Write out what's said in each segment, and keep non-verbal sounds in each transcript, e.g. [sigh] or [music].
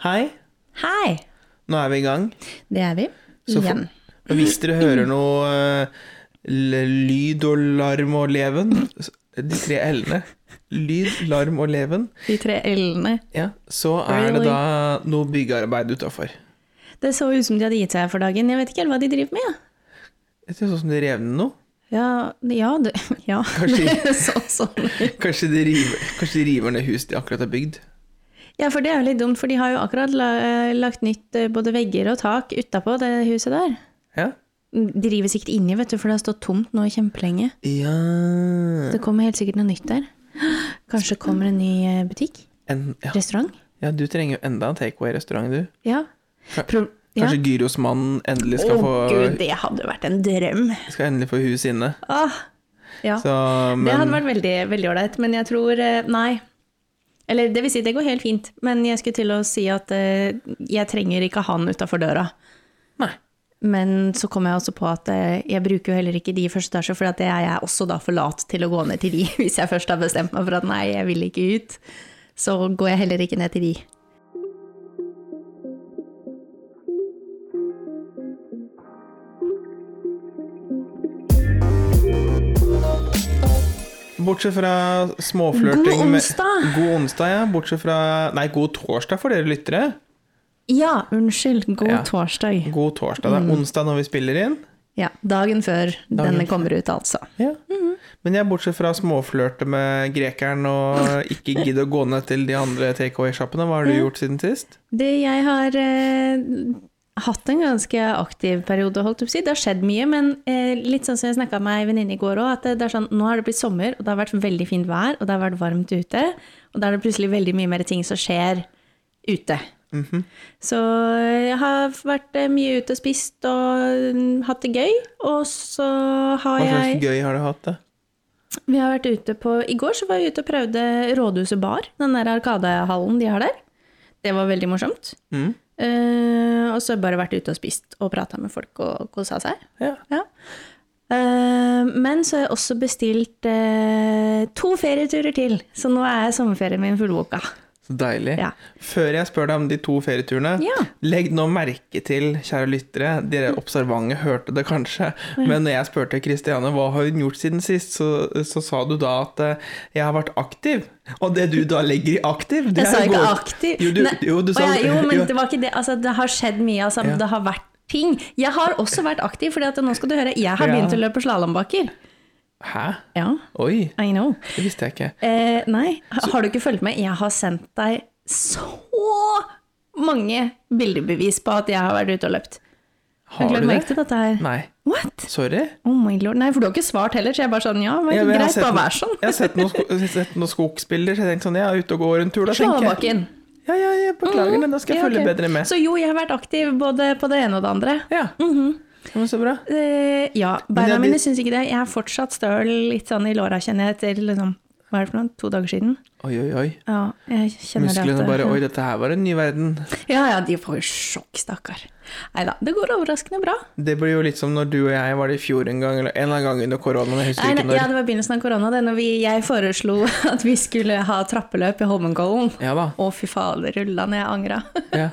Hei, Hei! nå er vi i gang. Det er vi. Så for- Igjen. Og hvis dere hører noe eh, l- lyd og larm og leven, s- de tre L-ene, lyd, larm og leven, De tre L-ene. ja, så er det Really? da noe byggearbeid utafor. Det så ut som de hadde gitt seg for dagen. Jeg vet ikke helt hva de driver med. Det er sånn som de rev ned noe. [laughs] Ja, ja, det, ja. Kanskje- det [laughs] så sånn ut. Kanskje de river, kanskje de river ned hus de akkurat har bygd. Ja, for det er jo litt dumt, for de har jo akkurat la, lagt nytt eh, både vegger og tak utapå det huset der. Ja. Mm, De river sikkert inni, vet du, for det har stått tomt nå kjempelenge. ja. Det kommer helt sikkert noe nytt der. Kanskje kommer en ny eh, butikk? En, ja. Restaurant? ja, du trenger jo enda en takeaway-restaurant, du. Ja. Ka- Pro ja. Kanskje Gyrosmannen endelig Å skal, gud, få, det hadde vært en drøm. skal endelig få hus inne. Ah, ja. Så, Det hadde men vært veldig veldig ålreit, men jeg tror eh, Nei. Eller det vil si, det går helt fint, men jeg skulle til å si at eh, jeg trenger ikke han utafor døra. Nei. Men så kom jeg også på at eh, jeg bruker jo heller ikke de i første etasje, for at jeg er også da for lat til å gå ned til de, [laughs] hvis jeg først har bestemt meg for at nei, jeg vil ikke ut. Så går jeg heller ikke ned til de. Bortsett fra småflørting God med- onsdag! God onsdag, ja. Bortsett fra Nei, god torsdag for dere lyttere. Ja, unnskyld, god Ja. torsdag. God torsdag. Det Mm. er onsdag når vi spiller inn. Ja, dagen før denne kommer ut, altså. Ja. Men jeg, bortsett fra småflørte med grekeren og [laughs] ikke gidde å gå ned til de andre takeaway-sjappene, hva har du gjort siden sist? Det jeg har eh, hatt en ganske aktiv periode, holdt jeg på å si. Det har skjedd mye, men eh, litt sånn som jeg snakka med ei venninne i går òg, at det, det er sånn nå har det blitt sommer, og det har vært veldig fint vær, og det har vært varmt ute, og da er det plutselig veldig mye mer ting som skjer ute. Mhm. Så jeg har vært eh, mye ute og spist og mm, hatt det gøy, og så har Hva jeg slags gøy har du hatt, da? vi har vært ute på, I går så var jeg ute og prøvde Rådhuset bar, den der Arkadehallen de har der. Det var veldig morsomt. Mm. Eh, og så har jeg bare vært ute og spist og prata med folk og kosa seg. Ja. Ja. Eh, men så har jeg også bestilt eh, to ferieturer til, så nå er sommerferien min fullboka. Så deilig. Ja. Før jeg spør deg om de to ferieturene, Ja. Mm. legg nå merke til, kjære lyttere, dere observante hørte det kanskje, men når jeg spurte Kristiane hva har hun gjort siden sist, så, så sa du da at eh, jeg har vært aktiv. Og det du da legger i aktiv det Jeg sa er jo ikke gå- aktiv. Jo, du, Nei, jo, du å sa ja, jo, men jo. det var ikke det. Altså, det har skjedd mye. Altså, Ja. Det har vært ting. Jeg har også vært aktiv, for nå skal du høre, jeg har Ja. begynt å løpe slalåmbakker. Hæ? Ja, Oi, I know. det visste jeg ikke. Eh, nei, Ha- har du ikke fulgt med? Jeg har sendt deg så mange bildebevis på at jeg har vært ute og løpt. Har du merke det? til dette her? Nei. What? Sorry. Oh my lord. Nei, for du har ikke svart heller, så jeg er bare sånn ja, men, Jeg- jeg har greit, sett bare noen- vær sånn. Jeg har sett noen, sko jeg har sett noen skogsbilder, så jeg tenkte sånn, jeg er ute og går en tur, da tenker jeg. Slalåmbakken. Ja, ja, jeg beklager, men da skal jeg Mm, Ja, følge ok. bedre med. Så jo, jeg har vært aktiv både på det ene og det andre. Ja, Mhm. Ja, men så bra. Eh, ja, jeg beina blir- mine syns ikke det. Jeg er fortsatt støl litt sånn i låra, kjenner jeg, etter liksom, hva er det for noe, to dager siden. Oi, oi, oi. Ja, jeg kjenner det at eh, Musklene det- bare Oi, dette her var en ny verden. Ja, ja, de får jo sjokk, stakkar. Nei da, det går overraskende bra. Det blir jo litt som når du og jeg var det i fjor en gang, eller en eller annen gang under koronaen. Jeg husker Nei, ikke nei, ja, når. det var begynnelsen av korona, det, når vi, jeg foreslo at vi skulle ha trappeløp i Holmenkollen. Ja da. Å, fy fader, rullende, jeg angra. Ja.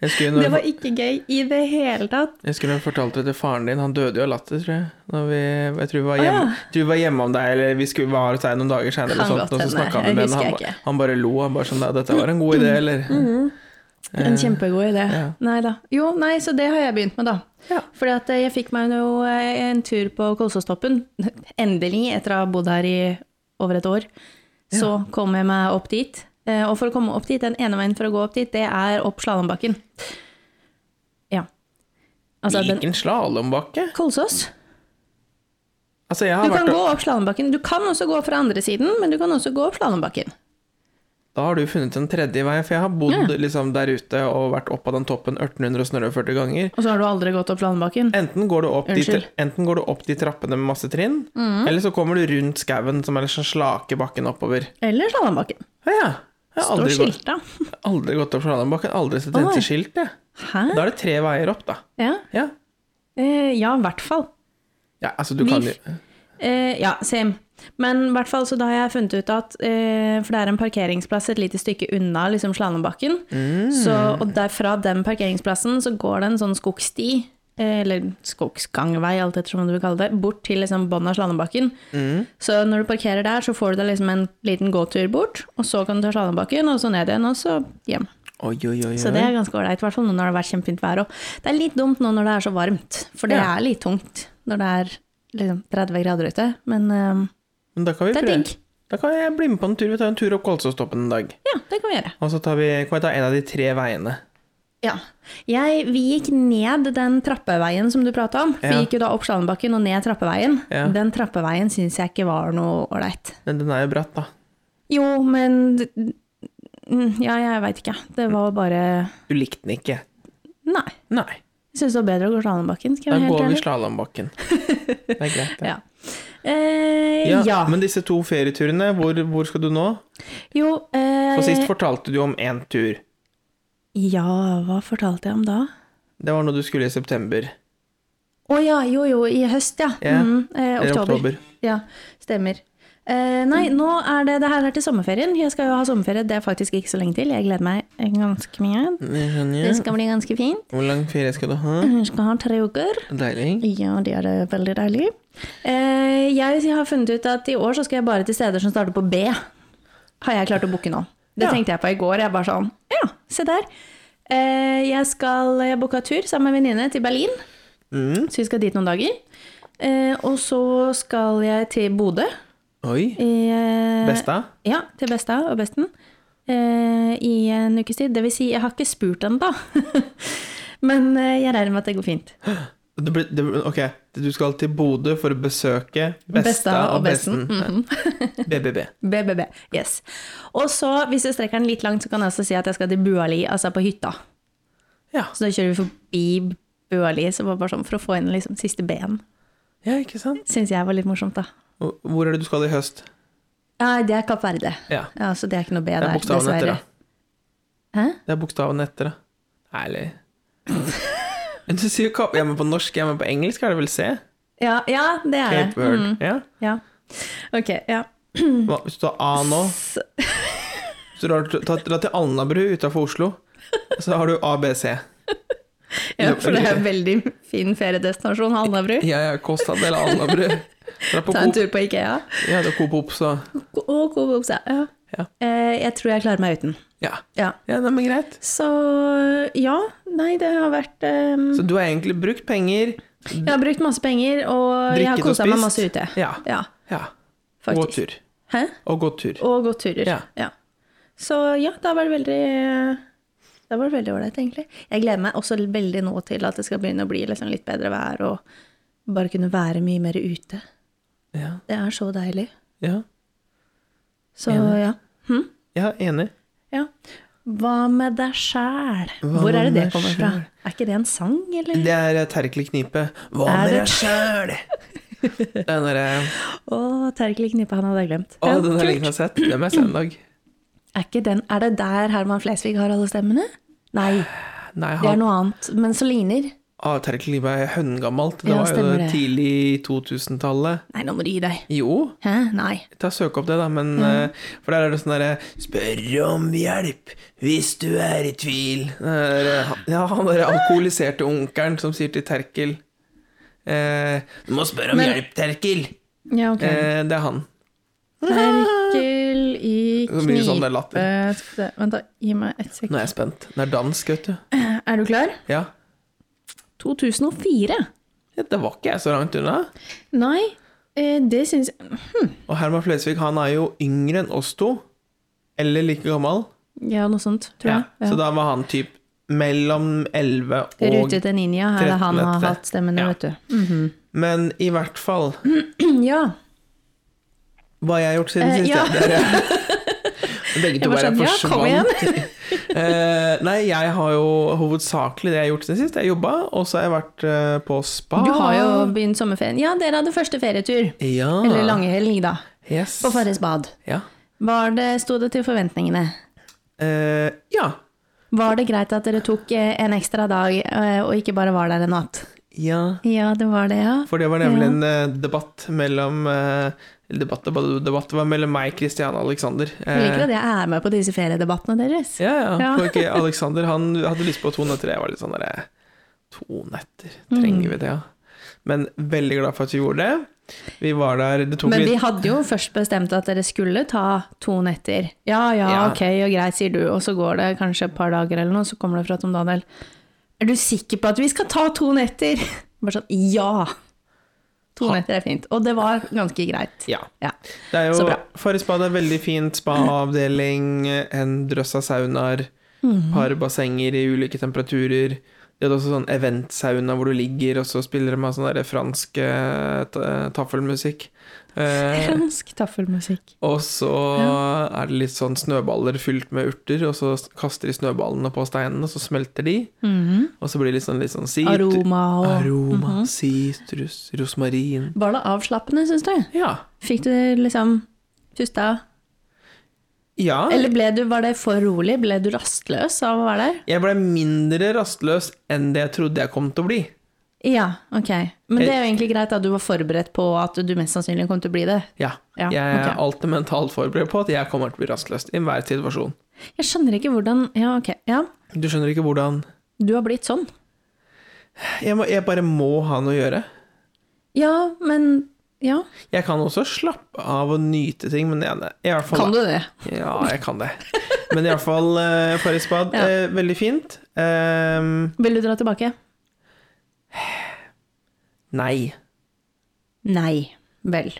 Jeg husker [laughs] Det når, var ikke gøy i det hele tatt. jeg husker når jeg fortalte det til faren din. Han døde jo av latter, tror jeg. Når vi, jeg tror vi var Å, hjemme, ja. tror vi var hjemme om deg, eller vi skulle var hos deg noen dager Kan senere, og, godt sånt, og så hende. snakka han Jeg med husker henne. jeg Mm. Han, han bare lo. Han bare sånn «Nei, 'Dette var en god idé', eller? En kjempegod idé. Ja. Nei da. Jo, nei, så det har jeg begynt med, da. Ja. Fordi at eh, jeg fikk meg jo eh, en tur på Kolsåstoppen. [laughs] Endelig, etter å ha bodd her i over et år. Så kom jeg meg opp dit. Eh, Og for å komme opp dit, den ene veien for å gå opp dit, det er opp slalåmbakken. Ja. Altså, den Hvilken slalåmbakke? Kolsås. Altså, jeg Du har kan vært gå opp slalåmbakken. Du kan også gå fra andre siden, men du kan også gå opp slalåmbakken. Da har du funnet en tredje vei, for jeg har bodd liksom, der ute og vært opp av den toppen 1840 ganger. Og så har du aldri gått opp slalåmbakken. Enten går, du opp de, Unnskyld. Mhm. enten går du opp de trappene med masse trinn, eller så kommer du rundt skauen som er liksom slake bakken oppover. Eller slalåmbakken. Ja, ja. Jeg har Står aldri gått, skilta. aldri gått opp Slalåmbakken, aldri sett eneste skilt, jeg. Hæ? Da er det tre veier opp, da. Ja. Ja, Eh, ja, i hvert fall. ja altså du kan Vi- jo Eh, ja, same. Men i hvert fall så da har jeg funnet ut at eh, For det er en parkeringsplass et lite stykke unna liksom Slalåmbakken. Så, og der, fra den parkeringsplassen så går det en sånn skogsti, eh, eller skogsgangvei, alt etter hva du vil kalle det, bort til liksom bunnen av Slalåmbakken. Så når du parkerer der, så får du deg liksom en liten gåtur bort, og så kan du ta Slalåmbakken, og så ned igjen, og så hjem. Oi, oi, oi. oi. Så det er ganske ålreit, i hvert fall nå når det har vært kjempefint vær. Og det er litt dumt nå når det er så varmt, for det Ja. er litt tungt når det er liksom 30 grader ute. Men øhm, Men da kan vi det er prøve. digg. Da kan jeg bli med på en tur. Vi tar en tur opp Kolsåstoppen en dag. Ja, det kan vi gjøre. Og så tar vi, kan vi ta en av de tre veiene. Ja. Jeg, vi gikk ned den trappeveien som du prata om. Vi Ja. gikk jo da opp Slalåmbakken og ned trappeveien. Ja. Den trappeveien syns jeg ikke var noe ålreit. Men den er jo bratt, da. Jo, men d- mm, Ja, jeg veit ikke. Det var bare Du likte den ikke. Nei. Nei. Jeg syns det var bedre å gå Slalåmbakken, skal Da jeg være helt går vi ærlig. slalåmbakken. Det er [laughs] greit, det. Ja. Eh, Ja, ja. Men disse to ferieturene, hvor, hvor skal du nå? Jo eh, For sist fortalte du om én tur. Ja, hva fortalte jeg om da? Det var når du skulle i september. Å ja, jo jo, i høst, ja. Ja. Mhm, eh, Eller oktober. oktober. Ja, stemmer. Eh, nei, nå er det det her er til sommerferien. Jeg skal jo ha sommerferie, det er faktisk ikke så lenge til. Jeg gleder meg ganske mye. Jeg Det skjønner. skal bli ganske fint. Hvor lang ferie skal du ha? Jeg skal ha tre uker. Deilig. Ja, det er det veldig deilig. Eh, jeg har funnet ut at i år så skal jeg bare til steder som starter på B. Har jeg klart å booke nå. Det Ja. tenkte jeg på i går. Jeg bare sånn, ja, se der. Eh, jeg skal jeg booka tur sammen med en venninne til Berlin. Mm. Så vi skal dit noen dager. Eh, og så skal jeg til Bodø. Oi. i, eh, Besta? Ja, til Besta og Besten. Eh, I en ukes tid. Det vil si, jeg har ikke spurt ennå. [laughs] Men eh, jeg regner med at det går fint. Det blir, det, blir- ok, du skal til Bodø for å besøke Besta, og Besten. Mhm. BBB. BBB. Yes. Og så, hvis jeg strekker den litt langt, så kan jeg også si at jeg skal til Buali, altså på hytta. Ja. Så da kjører vi forbi Buali, så var det bare sånn for å få inn liksom siste B-en. ja, ikke sant? Syns jeg var litt morsomt, da. Og Hvor er det du skal i høst? Nei, det er Kapp Verde. Ja, Ja, så det er ikke noe B det der, er bokstaven etter, da. Hæ? Det er bokstaven etter, da. [laughs] Ærlig. Men Du sier kapp... Ja, men på norsk, ja, men på engelsk er det vel C? Ja, ja, det er Cape det. Verde. Mm, Ja. ja. Ok, ja. Hva, hvis du tar A nå, S- [laughs] så drar du drar til Alnabru utafor Oslo. Så har du ABC. Ja, for det er en veldig fin feriedestinasjon, Alnabru. Ja, ja, Kåssad eller Alnabru. Dra på Ta en Coop. tur på Ikea. Ja, det er Coop Ops og Ko- Og Coop Ops, ja. ja. Ja. Eh, Jeg tror jeg klarer meg uten. Ja. Ja. ja, nei, men greit. Så ja, nei, det har vært ehm, Så du har egentlig brukt penger, Jeg har brukt masse penger, og jeg har drikket og kosa spist. meg masse ute. Ja. Ja, ja. Og gått faktisk. tur. Hæ? Og gått tur. Og gått turer. Ja. Så ja, det har vært veldig det har vært veldig ålreit, egentlig. Jeg gleder meg også veldig nå til at det skal begynne å bli liksom litt bedre vær, og bare kunne være mye mer ute. Ja. Det er så deilig. Ja. Så Enig. ja. Hm? ja, enig. Ja. Hva med deg sjæl? Hva Hvor er det med det deg kommer fra? sjæl? Er ikke det en sang, eller? Det er eh, Terkelig knipe. Hva Er med det- deg sjæl? [laughs] Den derre Å, Terkel Knippe, han hadde jeg glemt. Å, Ja, den har jeg kult. lenge sett. Den må jeg se en dag. er, ikke den, er det der Herman Flesvig har alle stemmene? Nei, Nei, det er han, noe annet, men som ligner. å, Terkelig knipe er høngammalt. Det Ja, var jo stemmer det det. tidlig 2000-tallet. Nei, nå må du gi deg. Jo, Hæ? Nei. ta søk opp det, da, men eh, For der er det sånn derre Spør om hjelp hvis du er i tvil. Den der, eh, han- ja, han derre alkoholiserte onkelen som sier til Terkel eh, Du må spørre om Men- hjelp, Terkel! Ja, ok. Eh, det er han. Terkel i Så mye sånn det er latter. Skal vi se, Vent, da. Gi meg et sekund. Nå er jeg spent. Den er dansk, vet du. Er du klar? Ja. 2004. Ja, Det var ikke jeg så langt unna. Nei, eh, det syns jeg Og Herman Flesvig han er jo yngre enn oss to. Eller like gammel. Ja, noe sånt, tror Ja. jeg. Ja. Så da var han typ mellom 11 og Rute til ninja er det han har 13. hatt stemmene, Ja. vet du. Men i hvert fall [clears throat] Ja. Hva har jeg gjort siden Eh, sist? ja. [laughs] Det er jeg. [laughs] Begge to Jeg bare bare skjønner, ja, kom forsvant. [laughs] Eh, nei, jeg har jo hovedsakelig det jeg har gjort siden sist. Jeg jobba, og så har jeg vært eh, på spa. Du har jo begynt sommerferien. Ja, dere hadde første ferietur. ja. Eller langhelg, da. Yes. Ah. På Farris bad. Ja. Var det, sto det til forventningene? Eh, ja. Var det greit at dere tok eh, en ekstra dag eh, og ikke bare var der en natt? Ja, Ja, det var det, ja. for det var nemlig Ja. en eh, debatt mellom eh, eller debatt, debatt, debatt det var mellom meg, Kristian og Alexander. Jeg liker Eh, at jeg er med på disse feriedebattene deres. Ja, ja. Ja. For ikke Alexander han hadde lyst på to netter. Jeg var litt sånn derre To netter, Mm. trenger vi det? Ja. Men veldig glad for at vi gjorde det. Vi var der Det tok Men vi litt hadde jo først bestemt at dere skulle ta to netter. Ja, ja, Ja. ok, og greit, sier du, og så går det kanskje et par dager eller noe, så kommer det fra Tom Daniel. Er du sikker på at vi skal ta to netter? [laughs] Bare sånn, ja! To Ha. netter er fint. Og det var ganske greit. Ja. Ja. Det er Så jo bra. Farris bad er veldig fint. Spa-avdeling, en drøss av saunaer, Mhm. Mm. par bassenger i ulike temperaturer. De hadde også sånn eventsauna hvor du ligger, og så spiller de av sånn der fransk eh, ta- taffelmusikk. [laughs] Eh, Fransk taffelmusikk. og så er det litt sånn snøballer fylt med urter, og så kaster de snøballene på steinene, og så smelter de. Og så blir det litt sånn, litt sånn sit- Mhm. Aroma Mhm. og Aroma, sitrus, rosmarin Var det avslappende, syns du? Ja. Fikk du liksom pusta? ja. Eller ble du, var det for rolig? Ble du rastløs av å være der? Jeg ble mindre rastløs enn det jeg trodde jeg kom til å bli. Ja, ok. Men det er Jeg- jo egentlig greit at du var forberedt på at du mest sannsynlig kom til å bli det. Ja. Ja, jeg er ok. alltid mentalt forberedt på at jeg kommer til å bli rastløs i enhver situasjon. Jeg skjønner ikke hvordan Ja, ok. Ja, Du skjønner ikke hvordan du har blitt sånn. Jeg, må, jeg bare må ha noe å gjøre. Ja, men Ja. Jeg kan også slappe av og nyte ting, men jeg, i hvert fall Kan du det? Ja, jeg kan det. Men i hvert fall, uh, Farris bad, Ja. eh, veldig fint. Ehm, Vil du dra tilbake? nei. Nei. [laughs] Vel.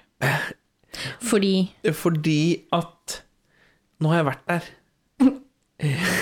Fordi Fordi at Nå har jeg vært der.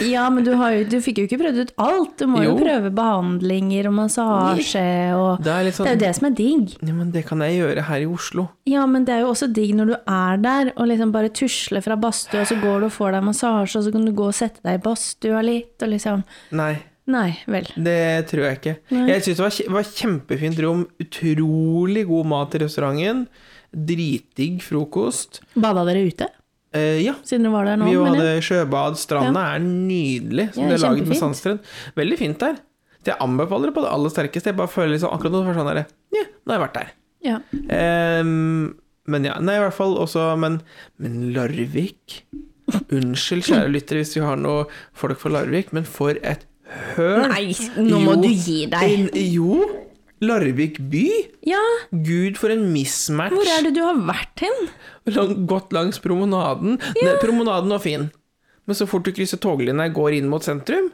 Ja, men du, har jo, du fikk jo ikke prøvd ut alt. Du må Jo. jo, prøve behandlinger og massasje og Det er litt Det er sånn jo det som er digg. Ja, men det kan jeg gjøre her i Oslo. Ja, men det er jo også digg når du er der og liksom bare tusler fra badstua, og så går du og får deg massasje, og så kan du gå og sette deg i badstua litt, og liksom Nei. Nei, vel. Det tror jeg ikke. Nei. Jeg syns det var, kje- var kjempefint rom. Utrolig god mat i restauranten. Dritdigg frokost. Bada dere ute, Eh, ja. siden dere var der nå? Vi jo mener jeg? hadde sjøbad. Stranda er nydelig, som Ja, det er laget med kjempefint. sandstrend. Veldig fint der. Så jeg anbefaler det på det aller sterkeste. Jeg bare føler liksom akkurat nå så var det sånn der, Ja, nå har jeg vært der. Ja. Ehm, men ja, nei, i hvert fall også Men, men Larvik Unnskyld, [laughs] kjære lyttere, hvis vi har noe folk fra Larvik, men for et høl! Nei, nå må du gi deg. en- Jo! Larvik by? Ja, Gud, for en mismatch! hvor er det du har vært hen? Lang, gått langs promenaden. Nei, promenaden var fin, men så fort du krysser toglinja og går inn mot sentrum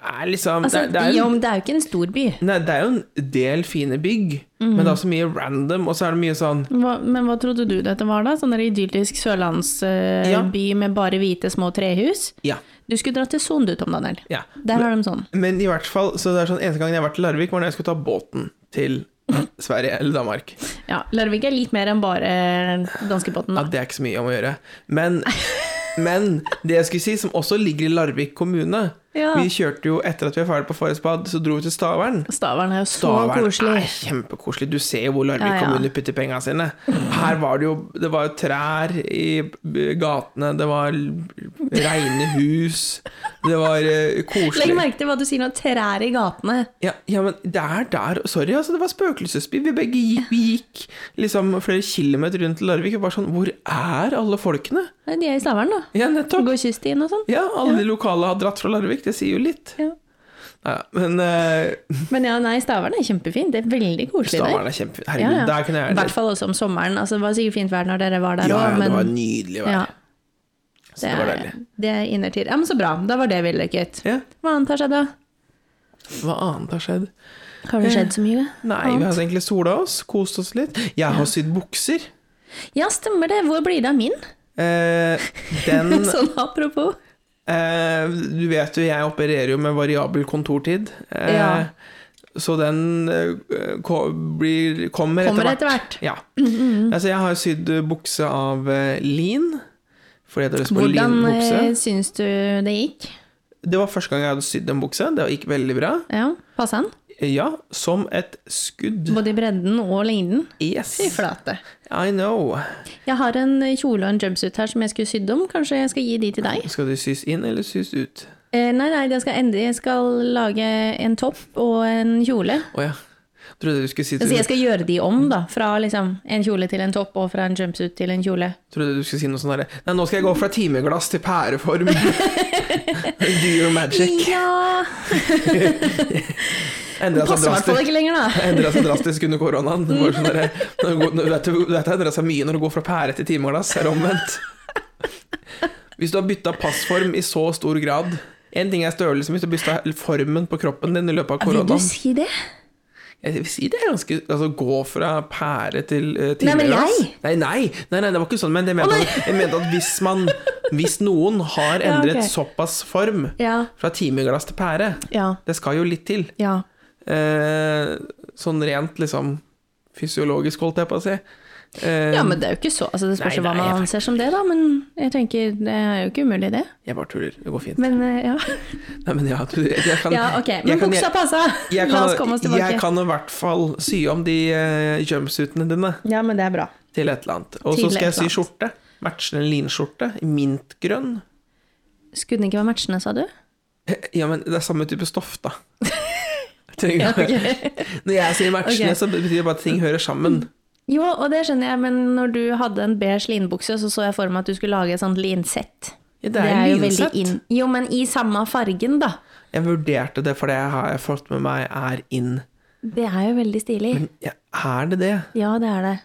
er liksom, Altså, det, det er jo, en men det er jo ikke en stor by. Nei, det er jo en del fine bygg, men Mhm. det er også mye random, og så er det mye sånn Hva, men hva trodde du dette var, da? Sånn der idyllisk sørlandsby Ja. med bare hvite små trehus? Ja. Du skulle dra til Son, du, Tom Daniel. ja. Der har de sånn. Men i hvert fall, så det er sånn eneste gangen jeg har vært til Larvik, var når jeg skulle ta båten [laughs] til Sverige eller Danmark. Ja, Larvik er litt mer enn bare danskebåten. Ja, da. det er ikke så mye om å gjøre. Men, men det jeg skulle si, som også ligger i Larvik kommune Ja. Vi kjørte jo etter at vi var ferdig på Forrest bad, så dro vi til Stavern. Stavern er jo så Stavern koselig. er kjempekoselig. Du ser jo hvor Larvik Ja, ja. kommune putter penga sine. Her var det jo Det var jo trær i b- gatene, det var l- reine hus, det var eh, koselig. Legg merke til hva du sier nå. Trær i gatene. Ja, ja, men det er der Sorry, altså, det var spøkelsesby. Vi begge gikk, vi gikk liksom flere kilometer rundt til Larvik og bare sånn Hvor er alle folkene? Nei, De er i Stavern, da. Ja, nettopp. Går kyststien og sånn. Ja, alle de lokale har dratt fra Larvik. Det sier jo litt. Ja. Ja, men uh, Men ja, nei, Stavern er kjempefint. Det er veldig koselig der. Stavern er kjempefint. Herregud, Ja, ja. der kunne I jeg hvert fall også om sommeren. Altså, det var sikkert fint vær når dere var Ja, der ja, òg, det men var nydelig vær. ja, så det, det var deilig. er, det er innertid. Ja, men så bra. Da var det vellykket. Ja, Hva annet har skjedd, da? hva annet har skjedd? Har det skjedd så mye? Nei, vi har egentlig sola oss, kost oss litt. Jeg har sydd bukser. Ja, stemmer det. Hvor blir det av min? Eh, [laughs] den sånn apropos. Eh, du vet jo, jeg opererer jo med variabel kontortid. Eh, Ja. Så den eh, ko- blir, kommer, Kommer etter hvert. etter hvert. Mm, Ja. altså, jeg har sydd bukse av eh, lin. Fordi jeg hadde lyst på Hvordan eh, linbukse. syns du det gikk? Det var første gang jeg hadde sydd en bukse. Det gikk veldig bra. Ja, Passa den? Ja, som et skudd. Både i bredden og lengden? Yes, Fy flate. I know. Jeg har en kjole og en jumpsuit her som jeg skulle sydd om. Kanskje jeg skal gi de til deg? Skal de sys inn eller sys ut? Eh, nei, nei, jeg skal, endre. jeg skal lage en topp og en kjole. Å ja. Trodde du skulle si, Så jeg skal gjøre de om, da. Fra liksom, en kjole til en topp, og fra en jumpsuit til en kjole. trodde du skulle si noe sånn derre Nei, nå skal jeg gå fra timeglass til pæreform. [laughs] Do your magic. Ja Endra Det seg passer i hvert fall drastisk. ikke lenger, da. Endra seg drastisk under koronaen. Det var sånn derre- når du går- når- vet du- Dette endra seg mye når du går fra pære til timeglass, er det omvendt. Hvis du har bytta passform i så stor grad Én ting er størrelse, men hvis du bytta formen på kroppen din i løpet av Vil du koronaen si det? Jeg vil si det er ganske Altså, gå fra pære til uh, Nei, men timeglass. jeg? Nei, nei, nei, nei, det var ikke sånn, men jeg mente, at, jeg mente at hvis man Hvis noen har [laughs] Ja, endret ok. såpass form Ja. fra timeglass til pære, Ja. det skal jo litt til. ja. Eh, sånn rent liksom fysiologisk, holdt jeg på å si. Eh, Ja, men det er jo ikke så altså, Det spørs jo Nei, hva nei, man jeg- anser som det, da. Men jeg tenker det er jo ikke umulig, det. Jeg bare tuller, det går fint. Men eh, ja. Nei, men ja, du, jeg kan, ja ok. jeg Men kan- buksa passa! jeg La kan- oss komme oss tilbake. Jeg kan i hvert fall sy om de eh, jumpsuitene dine Ja, men det er bra. til et eller annet. Og så Til skal jeg et sy eller skjorte. Matchende linskjorte. Mintgrønn. [laughs] Skulle den ikke være matchende, sa du? Ja, men det er samme type stoff, [laughs] da. Trenger- Når jeg sier matchende, Ok. så betyr det bare at ting hører sammen. Jo, og det skjønner jeg, men når du hadde en beige linbukse, så så jeg for meg at du skulle lage et sånt linsett. Ja, det er, jo jo veldig linsett. inn- Jo, men i samme fargen, da. Jeg vurderte det, for det har jeg fått med meg er inn. Det er jo veldig stilig. Ja, er det det? Ja, det er det.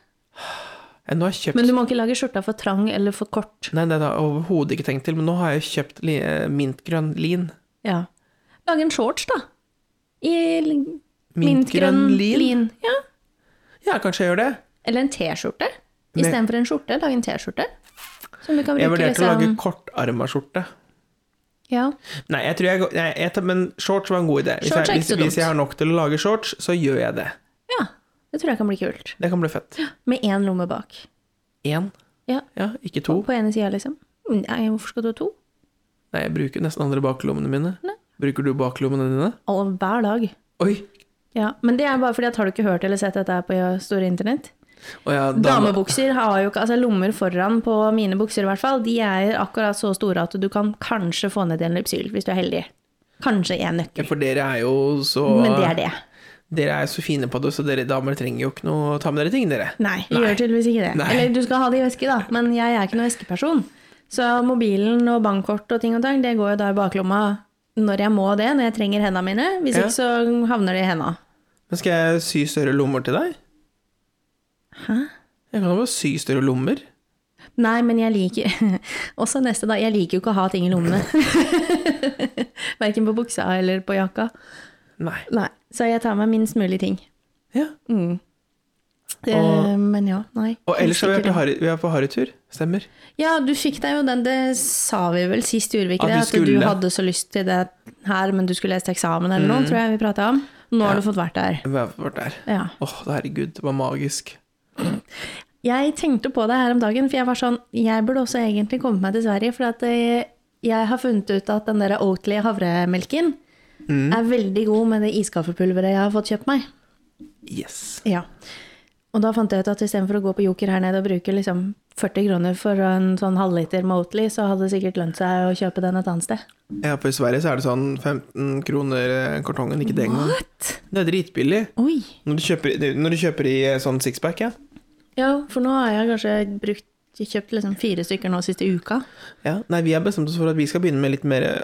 Jeg, nå har jeg kjøpt Men du må ikke lage skjorta for trang eller for kort. Nei, det har jeg overhodet ikke tenkt til, men nå har jeg jo kjøpt li, eh, mintgrønn lin. Ja. Lage en shorts, da. I l- Mintgrønn lin? Ja. Ja, kanskje jeg gjør det. Eller en T-skjorte. Men- Istedenfor en skjorte, lage en T-skjorte. Som du kan Jeg bruke vurderte å lage liksom kortarma skjorte. Ja. Nei, jeg tror jeg, går- nei, jeg tar, men shorts var en god idé. Hvis Shorts er jeg, ikke hvis, så dumt. hvis jeg har nok til å lage shorts, så gjør jeg det. ja. Det tror jeg kan bli kult. Det kan bli fett. Med én lomme bak. Én. Ja. Ja, ikke to. På ene sida, liksom. Nei, hvorfor skal du ha to? Nei, jeg bruker nesten andre baklommene mine. Nei. Bruker du baklommene dine? Og hver dag. Oi! Ja, Men det er bare fordi at har du ikke hørt eller sett dette her på store internett? Å ja, dame- Damebukser har jo ikke Altså lommer foran på mine bukser, i hvert fall. De er akkurat så store at du kan kanskje få ned en lypsyl, hvis du er heldig. Kanskje én Ja, nøkkel. for dere er jo så Men det er det. Dere er jo så fine på det, så dere damer trenger jo ikke noe å ta med dere ting, dere. Nei, jeg gjør tydeligvis ikke det. Nei. Eller du skal ha det i veske, da. Men jeg er ikke noen veskeperson. Så mobilen og bankkort og ting og tang, det går jo da i baklomma når jeg må det, når jeg trenger hendene mine. Hvis Ja. ikke så havner det i henda. Men skal jeg sy større lommer til deg? Hæ? Jeg kan jo bare sy større lommer. Nei, men jeg liker [laughs] Også neste, da. Jeg liker jo ikke å ha ting i lommene. [laughs] Verken på buksa eller på jakka. Nei. Nei. Så jeg tar med minst mulig ting. Ja. Mm. Det, Og- men ja, nei. Og ellers har vi vært Sikkert. på Harry- vi er på harrytur, stemmer. Ja, du fikk deg jo den, det sa vi vel sist, gjorde vi ikke At det? vi At du skulle. Mm. hadde så lyst til det her, men du skulle lese til eksamen eller noe, tror jeg vi prata om. Nå har du fått vært der. Vi har vært der. Ja. Åh, herregud, det var magisk. Jeg tenkte på det her om dagen, for jeg var sånn Jeg burde også egentlig komme meg til Sverige, for at eh, jeg har funnet ut at den der Oatly havremelken Mm. er veldig god med det iskaffepulveret jeg har fått kjøpt meg. Yes. Ja. Og da fant jeg ut at istedenfor å gå på Joker her nede og bruke liksom 40 kroner for en sånn halvliter med Oatly, så hadde det sikkert lønt seg å kjøpe den et annet sted. Ja, for i Sverige så er det sånn 15 kroner eh, kartongen, ikke det engang. What? Det er dritbillig. Oi. Når du kjøper, når du kjøper i eh, sånn sixpack, ja. Ja, for nå har jeg kanskje brukt, kjøpt liksom fire stykker nå siste uka. ja. Nei, vi har bestemt oss for at vi skal begynne med litt mer eh,